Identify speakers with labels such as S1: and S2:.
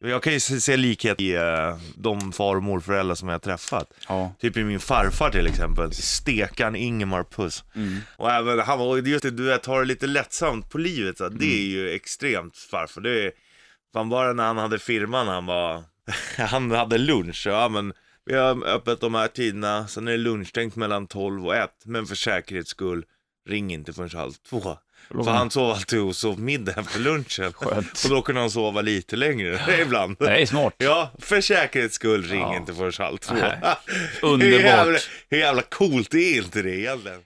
S1: Jag kan ju se se likhet i eh, de far och morföräldrar som jag har träffat.
S2: Ja.
S1: Typ i min farfar till exempel, stekan Ingemar Puss. Och även han var, och just det, du vet, har det lite lättsamt på livet. Så. att Det är ju extremt farfar. Det är, fan bara när han hade firman, han var, han hade lunch. Ja men, vi har öppet de här tiderna, sen är det lunchstängt mellan 12 och 1. Men för säkerhets skull, ring inte förrän halv två. För han sov alltid och sov middag efter lunchen.
S2: Skönt.
S1: Och då kunde han sova lite längre ibland.
S2: Det är smart.
S1: Ja, för säkerhets skull ring
S2: Ja.
S1: inte förrän halv två.
S2: Nej.
S1: Hur
S2: Underbart.
S1: jävla, hur jävla coolt är inte det egentligen?